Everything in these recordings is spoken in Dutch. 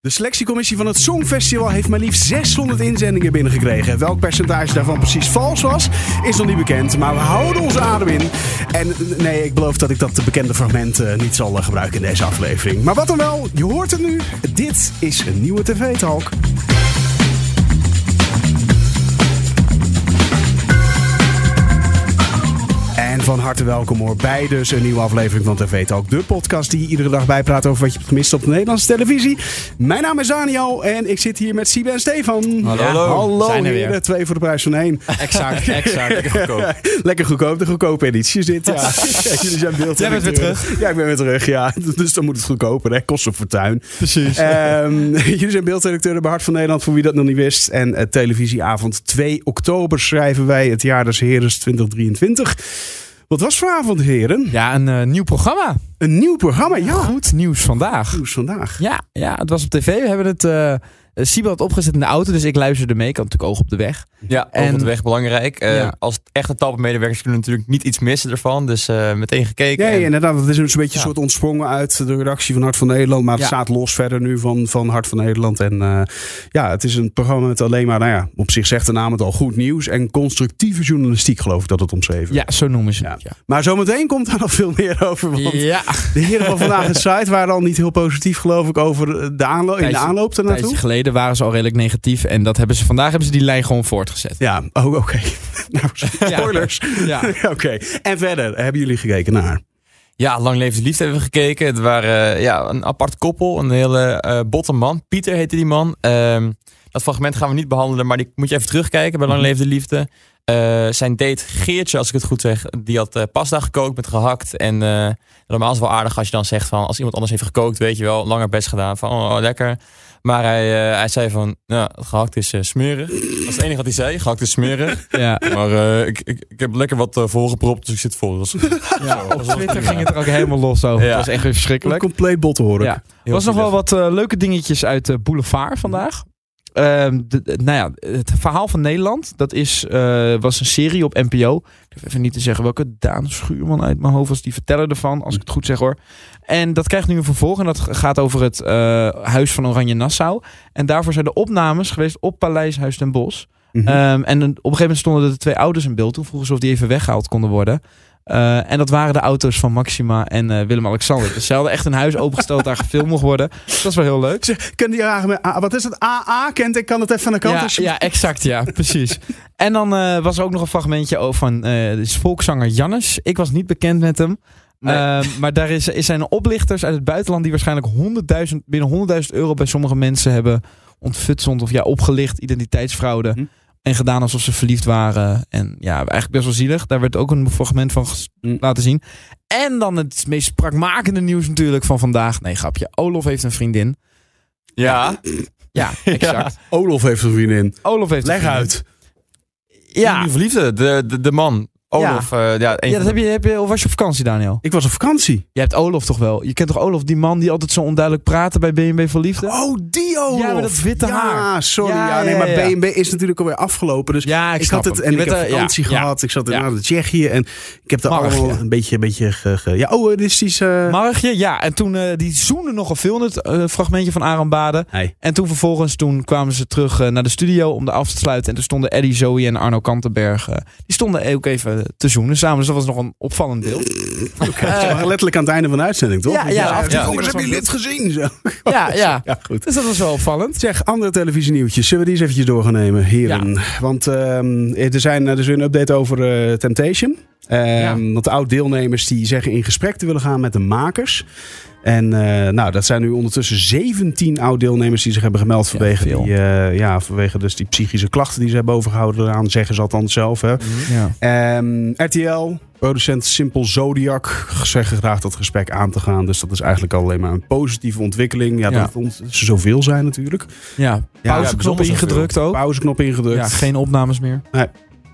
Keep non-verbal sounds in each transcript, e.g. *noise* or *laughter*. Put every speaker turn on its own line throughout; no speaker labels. De selectiecommissie van het Songfestival heeft maar liefst 600 inzendingen binnengekregen. Welk percentage daarvan precies vals was, is nog niet bekend. Maar we houden onze adem in. En eh, nee, ik beloof dat ik dat bekende fragment eh, niet zal eh, gebruiken in deze aflevering. Maar wat dan wel, je hoort het nu. Dit is een nieuwe TV-talk. En van harte welkom hoor bij dus een nieuwe aflevering van TV Talk. De podcast die je iedere dag bijpraat over wat je hebt gemist op de Nederlandse televisie. Mijn naam is Daniel en ik zit hier met Siebe en Stefan.
Hallo.
Ja, hallo
Zijn er weer.
heren. Twee voor de prijs van één. *laughs*
Exact, exact.
Lekker goedkoop, de goedkope editie is dit. Ja. *laughs* Ja, jullie zijn beeld.
Jij bent weer
Ja, ik ben weer terug, ja. *laughs* Dus dan moet het goedkoper, hè. Kost een fortuin.
Precies.
Ehm, *laughs* jullie zijn beeldredacteuren bij Hart van Nederland, voor wie dat nog niet wist. En eh, televisieavond 2 oktober schrijven wij het jaar des Heres 2023. Wat was vanavond, heren?
Ja, een eh, nieuw programma.
Een nieuw programma, ja.
Goed nieuws vandaag.
Nieuws vandaag.
Ja, ja, het was op tv. We hebben het... eh Sibyl had opgezet in de auto, dus ik luisterde mee. Ik had natuurlijk oog op de weg.
Ja,
En-
over de weg belangrijk. Eh,
Ja.
Als echte tapmedewerkers kunnen natuurlijk niet iets missen ervan. Dus eh, meteen gekeken.
Nee,
en-
inderdaad. Het is een beetje een
Ja.
soort ontsprongen uit de redactie van Hart van Nederland. Maar het
Ja.
staat los verder nu van, van Hart van Nederland. En eh, ja, het is een programma met alleen maar, nou ja, op zich zegt de naam het al, goed nieuws. En constructieve journalistiek, geloof ik dat het omschreven
Ja, zo noemen ze
Ja.
het. Ja.
Maar zometeen komt daar nog veel meer over. Want
Ja,
de heren van vandaag het site waren al niet heel positief, geloof ik, over de aanloop, in de
Tijdje-
aanloop
een tijdje
ernaartoe.
geleden waren ze al redelijk negatief. En dat hebben ze, vandaag hebben ze die lijn gewoon voortgezet.
Ja, oh, oké. Nou, spoilers. *laughs*
Ja.
oké. En verder, hebben jullie gekeken naar?
ja, Lang Leef de Liefde hebben we gekeken. Het waren eh, ja, een apart koppel. Een hele eh botte man. Pieter heette die man. Ehm, dat fragment gaan we niet behandelen. Maar die moet je even terugkijken bij
Mhm.
Lang Leef de Liefde. Eh, zijn date Geertje, als ik het goed zeg, die had eh, pasta gekookt met gehakt. En eh, normaal is het wel aardig als je dan zegt van... als iemand anders heeft gekookt, weet je wel, langer best gedaan. Van, oh, oh, lekker. Maar hij, eh, hij zei van, nou, gehakt is eh, smerig. Dat is het enige wat hij zei, gehakt is smerig.
Ja.
Maar eh, ik, ik, heb lekker wat voorgepropt, dus ik zit vol.
ja. Op Twitter ging het er ook helemaal los over.
Ja.
Het was echt weer
Een
verschrikkelijk.
compleet bot horen.
Ja. Er was nog wel wat eh, leuke dingetjes uit de Boulevard vandaag. Ehm, de- de- nou ja, het verhaal van Nederland, dat is, eh, was een serie op NPO. Ik durf even niet te zeggen welke Daan Schuurman uit mijn hoofd was. Die vertellen ervan, als ik het goed zeg hoor. En dat krijgt nu een vervolg en dat gaat over het eh, Huis van Oranje Nassau. En daarvoor zijn de opnames geweest op Paleis Huis ten Bosch.
Mhm.
Ehm, en een- op een gegeven moment stonden er de twee ouders in beeld. Toen vroegen ze of die even weggehaald konden worden. Eh, en dat waren de auto's van Maxima en eh, Willem-Alexander. Dus ze hadden echt een huis opengesteld daar gefilmd mocht worden. Dus dat is wel heel leuk.
Zeg, Kunnen die vragen met, ah, wat is het? AA kent, ik kan het even aan de kant.
Ja,
als je-
ja, exact, ja, precies. *laughs* En dan eh, was er ook nog een fragmentje over van eh, de volkszanger Jannes. Ik was niet bekend met hem.
Nee.
Eh, maar daar is, is zijn oplichters uit het buitenland die waarschijnlijk 100.000, binnen 100.000 euro bij sommige mensen hebben ontfutseld of ja, opgelicht, identiteitsfraude.
Hm.
En gedaan alsof ze verliefd waren. En ja, eigenlijk best wel zielig. Daar werd ook een fragment van ges-
Hm.
laten zien. En dan het meest spraakmakende nieuws natuurlijk van vandaag. Nee, grapje. Olof heeft een vriendin.
Ja,
*laughs* Ja, exact.
Olof heeft een vriendin.
Olof heeft een
Leg
vriendin.
uit.
Ja,
Die verliefde, de, de, de man. Olaf, ja, ja, een
Ja,
van
dat heb je, heb je, of was je op vakantie, Daniel?
Ik was op vakantie.
Je hebt Olof toch wel? Je kent toch Olof, die man die altijd zo onduidelijk praatte bij BNB voor Liefde?
Oh, die Olof.
Ja, met dat witte
Ja,
haar.
sorry. Ja,
Ja,
nee,
ja,
maar
ja.
BNB is natuurlijk alweer afgelopen. Dus
Ja,
ik had
snap
het
hem.
en
Je
ik
bent
heb
er- ja,
vakantie
ja.
gehad. Ik zat in
Ja.
naar Tsjechië en ik heb er
Marg,
allemaal
ja.
een beetje, een beetje ge, ge- ja, oh, eh, dit is die, eh,
Margje, ja. En toen, eh, die zoende nogal veel in het eh, fragmentje van Aram Baden.
Hey.
En toen vervolgens, toen kwamen ze terug eh, naar de studio om de af te sluiten. En toen stonden Eddie Zoe en Arno Kantenberg, eh, die stonden ook even te zoenen samen. Dus dat was nog een opvallend
*laughs*
beeld. Eh,
Ze waren letterlijk aan het einde van de uitzending, toch?
Ja, ja, af en toe
ja.
komt
Jongens,
er
hebben
zo'n
jullie dit gezien? Zo. *laughs*
ja, ja.
Ja, goed.
Dus dat was wel opvallend.
Zeg, andere televisienieuwtjes. Zullen we die eens eventjes door gaan nemen, heren? Want ehm, er, zijn, er is weer een update over eh, Temptation. Ehm, Want de oud-deelnemers die zeggen in gesprek te willen gaan met de makers. En eh, nou, dat zijn nu ondertussen 17 oud-deelnemers die zich hebben gemeld vanwege,
veel.
die, eh, ja, vanwege dus die psychische klachten die ze hebben overgehouden eraan, zeggen ze althans zelf. Hè.
Mhm.
Ja.
Ehm, RTL, producent Simpel Zodiac, zeggen graag dat gesprek aan te gaan. Dus dat is eigenlijk alleen maar een positieve ontwikkeling. Ja,
Ja.
dat ont- ze zoveel zijn natuurlijk.
ja.
Ja,
Pauzeknop
bijzonder
ingedrukt ook.
Pauzeknop ingedrukt.
Ja, geen opnames meer.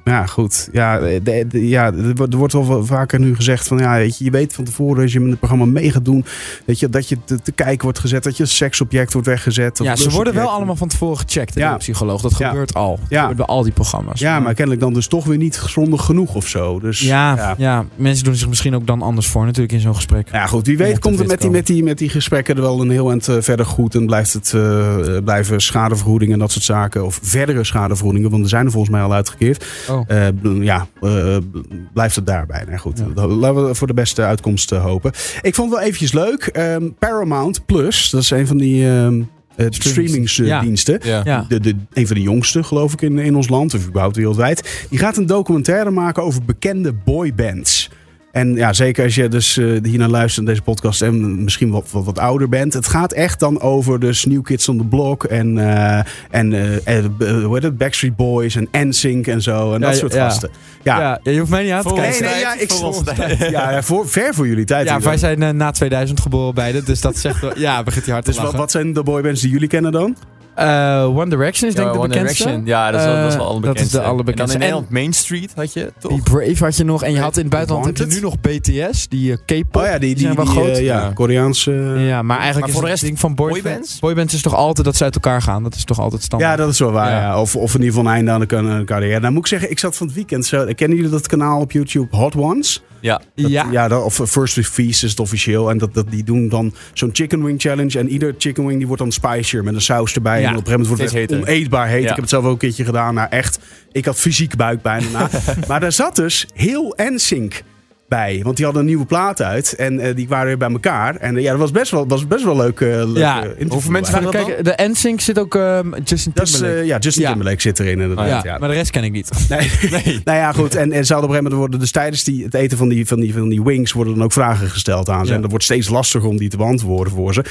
Ja, goed. Ja, de- de- ja, er wordt- er wordt al wel vaker nu gezegd van ja, weet je, je weet van tevoren als je met het programma mee gaat doen, dat je, dat je te, te kijken wordt gezet, dat je als seksobject wordt weggezet. of
Ja, ze worden wel
lusobject.
allemaal van tevoren gecheckt hè,
Ja.
door de psycholoog. Dat
Ja.
gebeurt al. Dat
Ja.
gebeurt bij al die programma's.
Ja, maar kennelijk dan dus toch weer niet grondig genoeg of zo. Dus,
Ja,
ja.
ja. mensen doen zich misschien ook dan anders voor natuurlijk in zo'n gesprek.
Nou Ja, goed. Wie weet
Mocht het
komt het
dit
met die,
komen.
met, die, met die gesprekken er wel een heel eind eh, verder goed. En blijft het, eh, eh, blijven schadevergoedingen en dat soort zaken. Of verdere schadevergoedingen, want er zijn er volgens mij al uitgekeerd.
Oh.
Eh, b- ja, eh, b- blijft het daarbij. Nou goed,
Ja.
dat- laten we voor de beste uitkomst eh, hopen. Ik vond het wel eventjes leuk. ehm, Paramount Plus, dat is een van die ehm eh, streamingsdiensten.
Ja.
Ja.
De, de, een van de jongste, geloof ik, in, in ons land, of überhaupt wereldwijd. Die gaat een documentaire maken over bekende boybands. En ja, zeker als je dus eh hiernaar luistert in deze podcast en misschien wat, wat, wat ouder bent. Het gaat echt dan over dus New Kids on the Block en, eh, en eh, eh, eh, hoe heet het? Backstreet Boys en NSYNC en zo. En
Ja,
dat
ja,
soort
ja.
gasten. Ja,
Ja.
ja.
je hoeft mij niet aan te
Voor
kijken.
ons
nee,
tijd,
ja, ik
voor ons
snap-
*laughs*
tijd.
voor, ver voor jullie tijd.
Ja,
hier
wij
dan.
zijn eh, na 2000 geboren beide, dus dat zegt wel- Ja, begint hij hard te
dus wat,
lachen.
wat zijn de boybands die jullie kennen dan?
Eh, One Direction is denk ik de
One
bekendste.
Direction. Ja, dat is, wel- dat is
Eh,
wel
dat is
allerbekendste.
de allerbekendste.
En dan in
En-
Nederland Main Street had je, toch?
Die Brave had je nog. En je had in het buitenland heb je nu
Wanted?
nog BTS, die eh, K-pop.
Oh ja, die, die,
zijn wel
die,
groot.
eh, ja,
Ja.
Koreaanse... eh,
ja, maar eigenlijk
Maar
is
voor de
het
rest
ding van boybands.
boybands?
Boybands is toch altijd dat ze uit elkaar gaan. Dat is toch altijd standaard.
Ja, dat is wel waar. Ja.
Ja.
Of, of in ieder geval een einde aan de, aan de carrière. Nou moet ik zeggen, ik zat van het weekend zo... Kennen jullie dat kanaal op YouTube, Hot Ones?
Ja.
Dat-
ja.
dat, of eh, First with Feast is het officieel. En dat, dat, die doen dan zo'n chicken wing challenge. En ieder chicken wing die wordt dan spicier met een saus erbij.
Ja,
En op een gegeven moment wordt het
steeds
echt oneetbaar heet.
Ja.
Ik heb het zelf ook een keertje gedaan. Nou echt, ik had fysiek buikpijn daarna. maar daar zat dus heel NSYNC bij. Want die hadden een nieuwe plaat uit. En eh, die waren weer bij elkaar. En eh, ja, dat was best wel, was best wel leuk. eh, leuk
Ja,
eh, interview
hoeveel mensen
bij.
Maar
dat
kijk, de NSYNC zit ook ehm, Justin
Dat is,
Timberlake.
eh, ja, Justin
Ja.
Timberlake zit erin inderdaad.
Oh, ja,
ja.
maar de rest ken ik niet.
*laughs* Nee.
Nee.
Nou ja, goed. En, en ze hadden op een gegeven moment worden dus tijdens die, het eten van die, van, die, van die wings worden dan ook vragen gesteld aan ze.
Ja.
En dat wordt steeds lastiger om die te beantwoorden voor ze.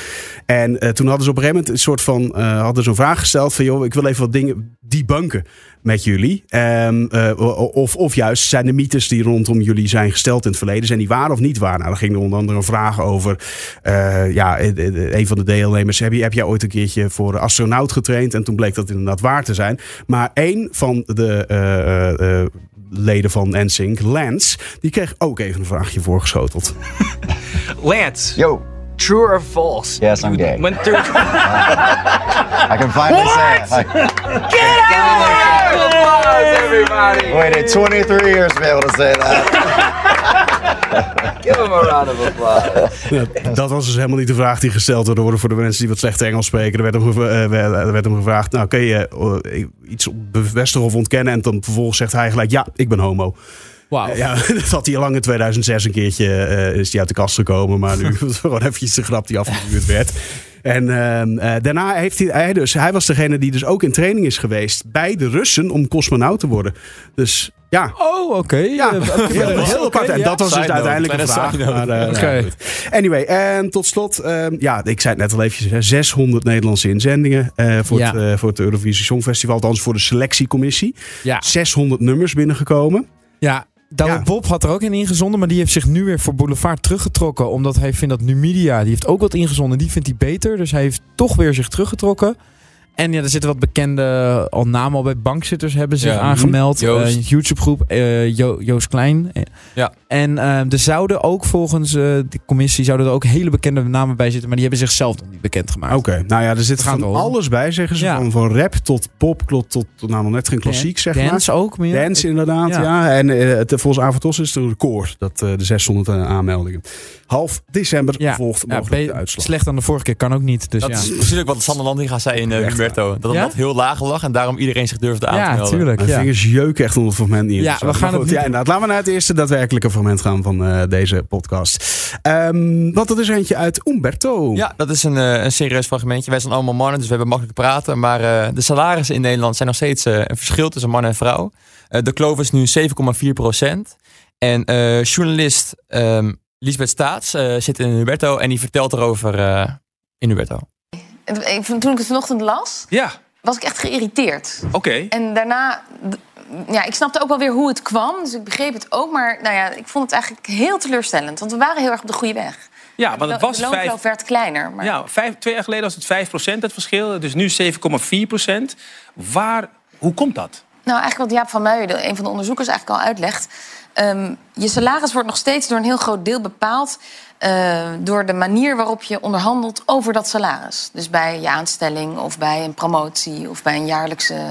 En eh, toen hadden ze op een gegeven moment een soort van eh, hadden zo'n vraag gesteld van joh, ik wil even wat dingen debunken met jullie. Ehm, eh, o- of, of juist, zijn de mythes die rondom jullie zijn gesteld in het verleden, zijn die waar of niet waar? Nou, dan ging er onder andere een vraag over eh, ja, eh, eh, een van de deelnemers. Heb, je, heb jij ooit een keertje voor astronaut getraind? En toen bleek dat inderdaad waar te zijn. Maar één van de eh, eh, eh, leden van NSYNC, Lance, die kreeg ook even een vraagje voorgeschoteld.
Lance,
Yo,
true or false?
yes, I'm gay.
Went through.
I can finally say it. Like,
everybody.
waited 23 years to be able to say that.
Give him a round of applause.
Dat was dus helemaal niet de vraag die gesteld werd worden voor de mensen die wat slecht Engels spreken. Er werd hem, geva- eh, werd- er werd hem gevraagd, nou kun je eh, iets bevestigen of ontkennen? En dan vervolgens zegt hij gelijk, ja, ik ben homo.
Wauw.
Ja, dat had hij al lang in 2006 een keertje eh, is hij uit de kast gekomen. Maar nu *laughs* was gewoon eventjes de grap die afgevuurd werd. En ehm, eh, daarna heeft hij, hij dus, hij was degene die dus ook in training is geweest bij de Russen om cosmonaut te worden. Dus ja,
Oh, oké.
ja,
Eh,
dat
heel
was heel
oké,
apart. En
ja.
dat was dus
Side note,
uiteindelijk een vraag.
kleine side note.
Maar, eh,
Oké.
ja, goed. Anyway, en tot slot. ehm, ja, ik zei het net al eventjes. hè, 600 Nederlandse inzendingen eh, voor,
Ja.
het, eh, voor het Eurovisie Songfestival. Althans voor de selectiecommissie.
Ja.
600 nummers binnengekomen.
Ja,
Ja.
Douwe Bob had er ook in ingezonden, maar die heeft zich nu weer voor Boulevard teruggetrokken. Omdat hij vindt dat Numidia, die heeft ook wat ingezonden, die vindt hij beter. Dus hij heeft toch weer zich teruggetrokken. En ja, er zitten wat bekende al namen al bij bankzitters hebben zich
Ja.
aangemeld.
Mhm. Joost.
Eh, Een YouTube groep, Joost Klein. Eh,
Ja.
En eh, er zouden ook volgens eh, de commissie zouden er ook hele bekende namen bij zitten, maar die hebben zichzelf nog niet bekendgemaakt.
Oké, nou ja, er zit
Dat gaat
van
wel.
alles bij, zeggen ze.
Ja.
Van, van rap tot pop, tot, tot nou, nog net geen klassiek, zeg maar.
Dance ook meer.
Dance inderdaad, ja.
Ja.
En eh, het, volgens Avatos is het een record, dat, eh, de 600 aanmeldingen. Half december
Ja.
volgt
Ja,
mogelijk
be-
de uitslag.
Slecht dan de vorige keer, kan ook niet. Dus
Dat
ja.
is precies ook wat Sander Landinga zei in eh,
Echt,
Humberto. Dat het
Ja?
lat heel laag lag en daarom iedereen zich durfde aan te
ja,
melden.
tuurlijk.
Mijn
Ja.
vingers jeuken echt onder het fragment niet.
Ja,
Zo.
we gaan
Maar goed,
het niet
ja, inderdaad. Laten we naar het eerste daadwerkelijke fragment gaan van eh, deze podcast. Ehm want dat is eentje uit Umberto.
Ja, dat is een, eh, een serieus fragmentje. Wij zijn allemaal mannen, dus we hebben makkelijk praten. Maar eh, de salarissen in Nederland zijn nog steeds eh, een verschil tussen man en vrouw. Eh, de kloof is nu 7,4 procent. En eh, journalist ehm Lisbeth Staats eh, zit in Huberto en die vertelt erover eh, in Huberto.
Het- ik- Toen ik het vanochtend las,
Ja,
was ik echt geïrriteerd.
oké.
En daarna, d- ja, ik snapte ook wel weer hoe het kwam. Dus ik begreep het ook. Maar nou ja, ik vond het eigenlijk heel teleurstellend. Want we waren heel erg op de goede weg.
Ja, want het
Lo-
was
de loonkloof
vijf,
werd kleiner. Maar
ja, vijf, twee jaar geleden was het 5 procent, het verschil. Dus nu 7,4 procent. Waar, hoe komt dat?
Nou, eigenlijk wat Jaap van Muijen, een van de onderzoekers, eigenlijk al uitlegt. Ehm, je salaris wordt nog steeds door een heel groot deel bepaald... eh, door de manier waarop je onderhandelt over dat salaris. Dus bij je aanstelling of bij een promotie... of bij een jaarlijkse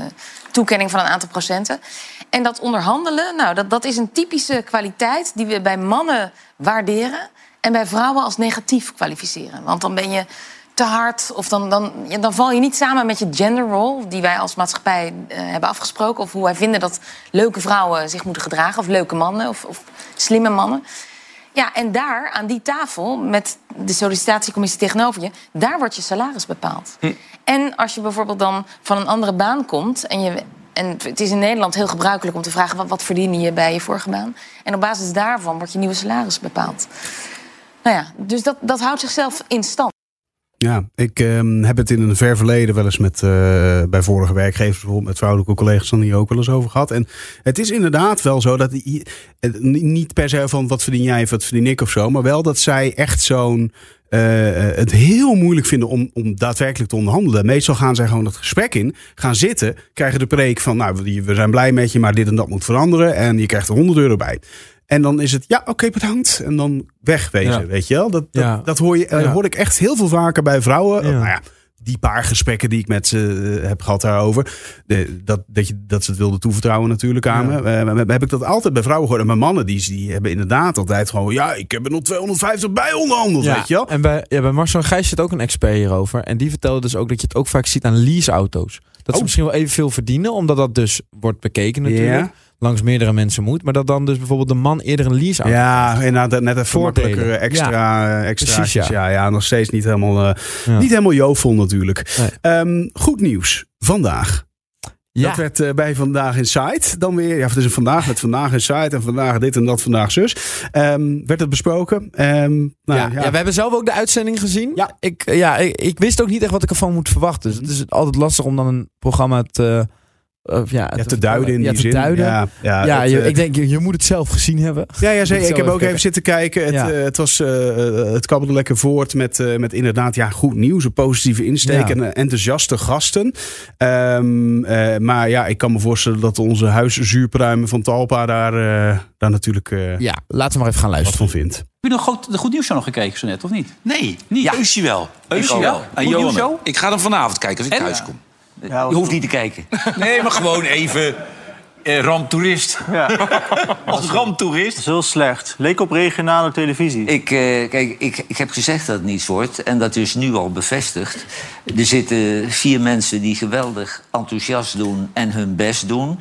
toekenning van een aantal procenten. En dat onderhandelen, nou, dat, dat is een typische kwaliteit... die we bij mannen waarderen en bij vrouwen als negatief kwalificeren. Want dan ben je te hard of dan, dan, ja, dan val je niet samen met je genderrol... die wij als maatschappij eh, hebben afgesproken... of hoe wij vinden dat leuke vrouwen zich moeten gedragen... of leuke mannen of, of slimme mannen. Ja, en daar aan die tafel met de sollicitatiecommissie tegenover je, daar wordt je salaris bepaald. En als je bijvoorbeeld dan van een andere baan komt en je. En het is in Nederland heel gebruikelijk om te vragen: wat, wat verdien je bij je vorige baan? En op basis daarvan wordt je nieuwe salaris bepaald. Nou ja, dus dat, dat houdt zichzelf in stand.
Ja, ik ehm, heb het in een ver verleden wel eens met eh, bij vorige werkgevers, bijvoorbeeld met vrouwelijke collega's, dan hier ook wel eens over gehad. En het is inderdaad wel zo dat i- het ni- niet per se van wat verdien jij of wat verdien ik of zo, maar wel dat zij echt zo'n eh, het heel moeilijk vinden om, om daadwerkelijk te onderhandelen. Meestal gaan zij gewoon dat gesprek in, gaan zitten, krijgen de preek van, nou, we- we zijn blij met je, maar dit en dat moet veranderen en je krijgt er 100 euro bij. En dan is het, ja, oké, bedankt. En dan wegwezen,
Ja.
weet je wel. Dat, dat,
Ja.
dat hoor je, eh,
Ja.
hoor ik echt heel veel vaker bij vrouwen.
Ja.
Nou ja, die paar gesprekken die ik met ze eh, heb gehad daarover. De, dat, dat, je, dat ze het wilden toevertrouwen natuurlijk aan me. Eh, maar heb ik dat altijd bij vrouwen gehoord. En mijn mannen, die, die hebben inderdaad altijd gewoon... Ja, ik heb er nog 250 bij onderhandeld, weet je wel.
En bij, ja, bij Marcel en Gijs zit ook een expert hierover. En die vertelde dus ook dat je het ook vaak ziet aan leaseauto's. Dat
Oh.
ze misschien wel evenveel verdienen, omdat dat dus wordt bekeken natuurlijk.
Ja.
Langs meerdere mensen moet. Maar dat dan dus bijvoorbeeld de man eerder een leaseauto
Ja, inderdaad, net even
Voordelen.
makkelijker extra, eh, extraatjes.
Precies,
ja. Ja, nog steeds niet helemaal, eh,
Ja.
niet helemaal jovel natuurlijk.
Nee.
Ehm, goed nieuws, vandaag.
Ja.
Dat werd eh, bij Vandaag Insight dan weer. Ja, het is een Vandaag met Vandaag Insight en Vandaag dit en dat, Vandaag zus. Ehm, werd het besproken. Ehm, nou, ja,
ja, ja, we hebben zelf ook de uitzending gezien.
Ja. Mhm.
Ik, eh, ja, ik, ik wist ook niet echt wat ik ervan moet verwachten. Dus het is altijd lastig om dan een programma te, eh, of ja,
Ja, te duiden in
ja,
die
te
zin.
duiden. Ja,
Ja, ja, het,
je-
eh,
ik denk, je, je moet het zelf gezien hebben.
Ja, ja zeker.
Moet
Ik
ik
heb
zo
ook
even
even zitten kijken. Het,
Ja.
eh, het, was, eh, eh, het kabbelde lekker voort met, eh, met inderdaad ja, goed nieuws, een positieve insteek
Ja.
en eh, enthousiaste gasten. Ehm, eh, maar ja, ik kan me voorstellen dat onze huiszuurpruimen van Talpa daar, eh, daar natuurlijk eh,
Ja, laten we maar even gaan
wat
luisteren.
van vindt.
Heb je nog goed, de Goed Nieuws Show nog gekeken zo net, of niet?
Nee,
Niet?
ja. Eusje wel. Eusje
ook.
wel.
Goed
En
nieuws
Johan.
zo?
ook. Ik ga hem vanavond kijken als ik
En?
thuis
Ja.
kom. Je hoeft niet te kijken. Nee, maar gewoon even... Eh, ramptoerist. als ramptoerist.
is heel slecht. Leek op regionale televisie.
Ik, eh, kijk, ik, ik heb gezegd dat het niets wordt. En dat is nu al bevestigd. Er zitten vier mensen die geweldig enthousiast doen en hun best doen.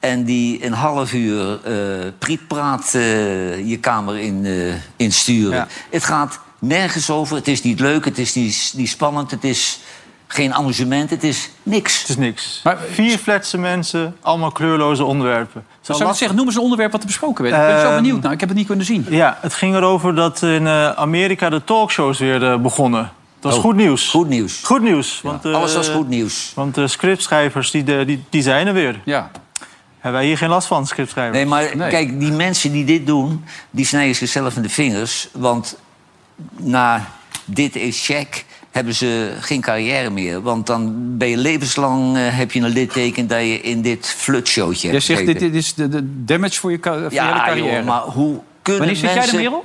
En die een half uur eh prietpraat eh, je kamer in, eh, insturen.
Ja.
Het gaat nergens over. Het is niet leuk, het is niet, niet spannend, het is geen amusement, het is niks.
Het is niks. Vier flatse mensen, allemaal kleurloze onderwerpen. Het
Zou
is
ik
al
zeggen, noem eens een onderwerp wat er besproken werd. ik ben
Ehm,
zo benieuwd nou, ik heb het niet kunnen zien.
lastig. Ja, het ging erover dat in eh, Amerika de talkshows weer eh, begonnen. Dat is
Oh,
goed nieuws.
Goed nieuws.
Goed nieuws. Want, eh,
Alles was goed nieuws.
Want de scriptschrijvers die, de- die, die zijn er weer.
Ja.
Hebben wij hier geen last van, scriptschrijvers?
Nee, maar
Nee.
kijk, die mensen die dit doen, die snijden zichzelf in de vingers. Want na dit is check hebben ze geen carrière meer. Want dan ben je levenslang eh, heb je een litteken dat je in dit flutshowtje
Jij
hebt
zegt, dit,
gezeten.
dit is de, de damage voor je, ka- voor je hele
Ja,
carrière.
joh, maar hoe kunnen
Wanneer zit
mensen...
jij er, Merel?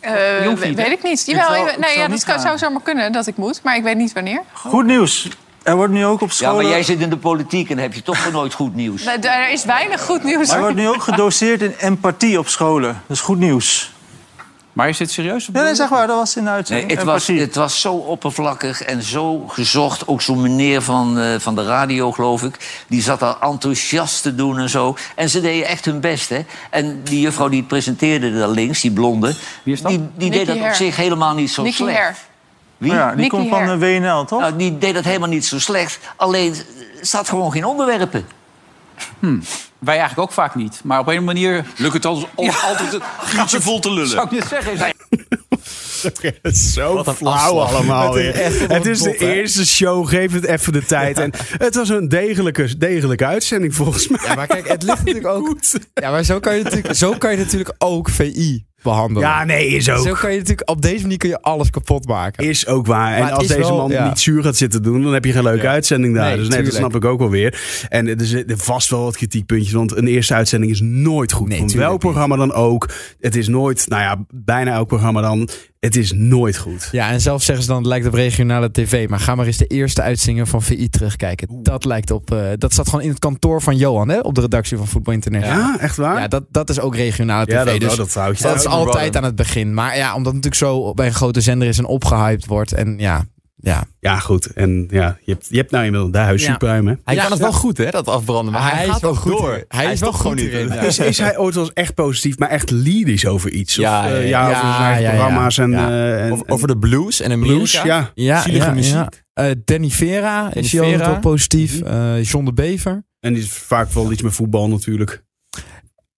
Eh,
Je hoeft niet, hè?
weet ik niet. Jawel,
zou-
ik-
ik
nee,
zou
ja,
niet
dat zou, zou
gaan.
zomaar kunnen dat ik moet, maar ik weet niet wanneer.
Goed nieuws. Er wordt nu ook op
Ja,
scholen...
maar jij zit in de politiek en dan heb je toch voor nooit goed nieuws.
Da- da- Er is weinig goed nieuws.
Er wordt nu ook gedoseerd in empathie op scholen. Dat is goed nieuws.
Maar is dit serieus?
Nee, nee, zeg maar, dat was in de
Nee,
uitzending.
het, was,
Empathie.
het was zo oppervlakkig en zo gezocht. Ook zo'n meneer van, eh, van de radio, geloof ik. Die zat daar enthousiast te doen en zo. En ze deden echt hun best, hè. En die juffrouw die het presenteerde daar links, die blonde...
Wie is dat?
Die, die
Nikki
deed dat op
Her.
zich helemaal niet zo
Nicky
slecht.
Her.
Wie?
Ja, die
Nicky
komt van eh, de
Her.
WNL, toch?
Ah,
Nou, die deed dat helemaal niet zo slecht. Alleen, er zat gewoon geen onderwerpen.
Wij eigenlijk ook vaak niet. Maar op een manier
Lukt het ons om altijd
*laughs*
een gaatje vol te lullen?
zou ik niet zeggen. is-
*laughs* Zo flauw allemaal weer. *laughs* Het is de eerste show, geef het even de tijd. En het was een degelijke, degelijke uitzending volgens mij. *laughs*
Ja, maar kijk, het ligt natuurlijk ook. Ja, maar zo kan je natuurlijk, zo kan je natuurlijk ook VI behandelen.
Ja, nee, is ook.
Zo kan je natuurlijk, op deze manier kun je alles kapot maken.
Is ook waar. En
het
als
is
deze
wel-
man
ja.
niet zuur gaat zitten doen, dan heb je geen leuke uitzending daar.
Nee,
dus nee, dat
tuurlijk.
snap ik ook wel weer. En er zitten vast wel wat kritiekpuntjes, want een eerste uitzending is nooit goed. Van
tuurlijk
welk programma dan ook. Het is nooit, nou ja, bijna elk programma dan. Het is nooit goed.
Ja, en zelf zeggen ze dan, het lijkt op regionale tv. Maar ga maar eens de eerste uitzendingen van VI terugkijken. Dat lijkt op... eh, dat staat gewoon in het kantoor van Johan, hè? Op de redactie van Voetbal International.
Ja, echt waar?
Ja, dat, dat is ook regionale tv.
Ja, dat-
dus
oh, dat houdt je
dat
uit,
is
maar
altijd
waarom?
aan het begin. Maar ja, omdat het natuurlijk zo bij een grote zender is en opgehyped wordt. En ja, ja.
Ja, goed. En ja, je hebt, je hebt nou inmiddels daar huis
Ja.
superhuim, hè?
Hij
Ja,
kan het
ja.
wel goed, hè, dat afbranden. Maar hij,
Hij is
gaat
wel
ook
goed
door.
hierin. Hij is wel
toch
goed
gewoon niet
hierin,
door.
ja.
Is, is hij ooit wel eens echt positief, maar echt lyrisch over iets? Of,
Ja,
eh,
ja, ja.
ja, over
Ja,
zijn eigen
ja, ja.
programma's en,
Ja.
eh, en-
Over, over de blues en
en
Amerika.
blues. Ja.
Ja,
Zielige
ja,
muziek.
ja. Eh, Danny Vera
Danny
is hier altijd
Vera.
wel positief. Eh, John de Bever.
En die is vaak wel iets met voetbal natuurlijk.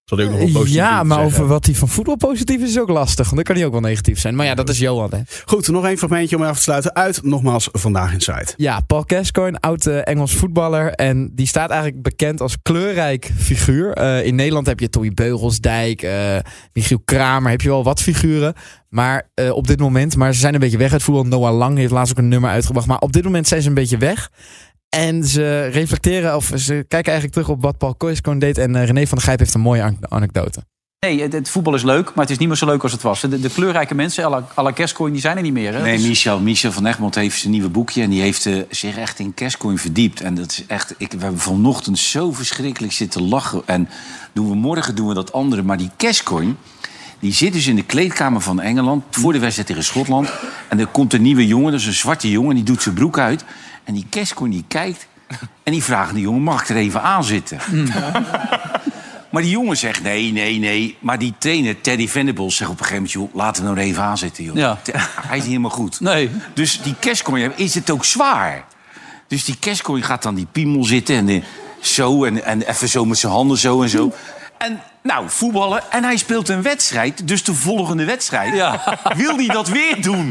Zal ik ook nog wel positief
Eh, Ja,
moeten
maar
zeggen.
over wat hij van voetbal positief is, is ook lastig. Want dan kan hij ook wel negatief zijn. Maar ja, dat is Johan, hè.
Goed, nog één fragmentje om af te sluiten. Uit, nogmaals, Vandaag Inside.
Ja, Paul Gascoigne, oud eh, Engels voetballer. En die staat eigenlijk bekend als kleurrijk figuur. Eh, in Nederland heb je Toby Beugelsdijk, eh, Michiel Kramer. Heb je wel wat figuren. Maar eh, op dit moment, maar ze zijn een beetje weg uit voetbal. Noah Lang heeft laatst ook een nummer uitgebracht. Maar op dit moment zijn ze een beetje weg. En ze reflecteren, of ze kijken eigenlijk terug op wat Paul Gascoigne deed. En eh, René van der Gijp heeft een mooie an- anekdote.
Nee, het, het voetbal is leuk, maar het is niet meer zo leuk als het was. De, de kleurrijke mensen, à la- à la Gascoigne, die zijn er niet meer. Hè? Dus-
Nee,
Het is-
Michel, Michel van Egmond heeft zijn nieuwe boekje... en die heeft eh, zich echt in Kerstcoin verdiept. En dat is echt... Ik, we hebben vanochtend zo verschrikkelijk zitten lachen. En doen we, morgen doen we dat andere. Maar die Kerstcoin, die zit dus in de kleedkamer van Engeland... voor de wedstrijd tegen Schotland. En er komt een nieuwe jongen, dat is een zwarte jongen... die doet zijn broek uit. En die Kerstcoin die kijkt... en die vraagt aan die jongen, mag ik er even aan zitten? Maar die jongen zegt nee, nee, nee. Maar die trainer, Teddy Venables, zegt op een gegeven moment... joh, laten we nou er even aan zitten, joh.
Ja.
Te- Hij is niet helemaal goed.
Nee.
Dus die kerstkooi, is het ook zwaar? Dus die kerstkooi gaat dan die piemel zitten en eh, zo... En, en even zo met zijn handen zo en zo. En nou, voetballen. En hij speelt een wedstrijd. Dus de volgende wedstrijd
Ja.
wil hij dat weer doen.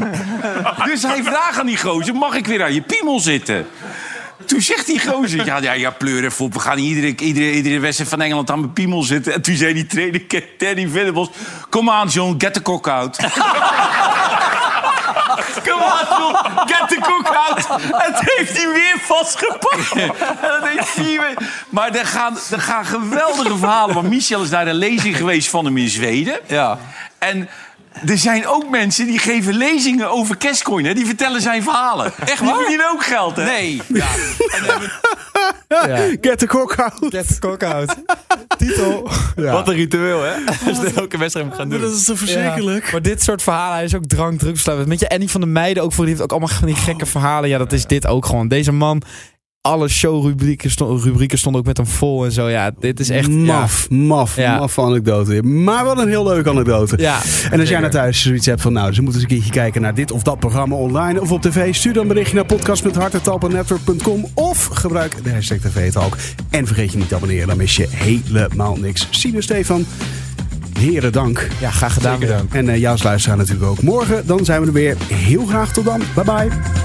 Dus hij vraagt aan die gozer, mag ik weer aan je piemel zitten? Toen zegt die gozer, ja, ja, ja pleur even op. We gaan iedere, iedere, iedere wedstrijd van Engeland aan mijn piemel zitten. En toen zei die trainer, Teddy Venables... Come on, John, get the cock out. *laughs* Come on, John, get the cock out. En toen heeft hij weer vastgepakt. En dat heeft vier weken- Maar er gaan, er gaan geweldige verhalen. Want Michel is naar een lezing geweest van hem in Zweden.
Ja.
En... Er zijn ook mensen die geven lezingen over Cashcoin. Hè? Die vertellen zijn verhalen. Echt waar? Die verdienen ook geld, hè?
Nee.
*laughs*
Get the cock out.
Get out. Titel.
Wat een ritueel, hè? *laughs* Als je elke wedstrijd moet gaan doen.
Dat is zo verschrikkelijk.
Maar dit soort verhalen, hij is ook drank, drugsverslaafd. Met je Annie van de Meijden ook voor, die heeft ook allemaal van die gekke verhalen. Ja, dat is dit ook gewoon. Deze man, alle showrubrieken sto- rubrieken stonden ook met hem vol en zo. Ja, dit is echt...
maf, maf,
Ja.
maf anekdote. Maar wat een heel leuke anekdote.
Ja,
en als jij
zeker.
naar thuis zoiets hebt van, nou, ze moeten eens een keertje kijken naar dit of dat programma online of op tv, stuur dan een berichtje naar podcast.hartentalpennetwork.com of gebruik de hashtag tv-talk. En vergeet je niet te abonneren, dan mis je helemaal niks. Sine Stefan, heren dank.
Ja, ja graag gedaan.
En eh jou als luisteraar natuurlijk ook. Morgen, dan zijn we er weer. Heel graag tot dan. Bye bye.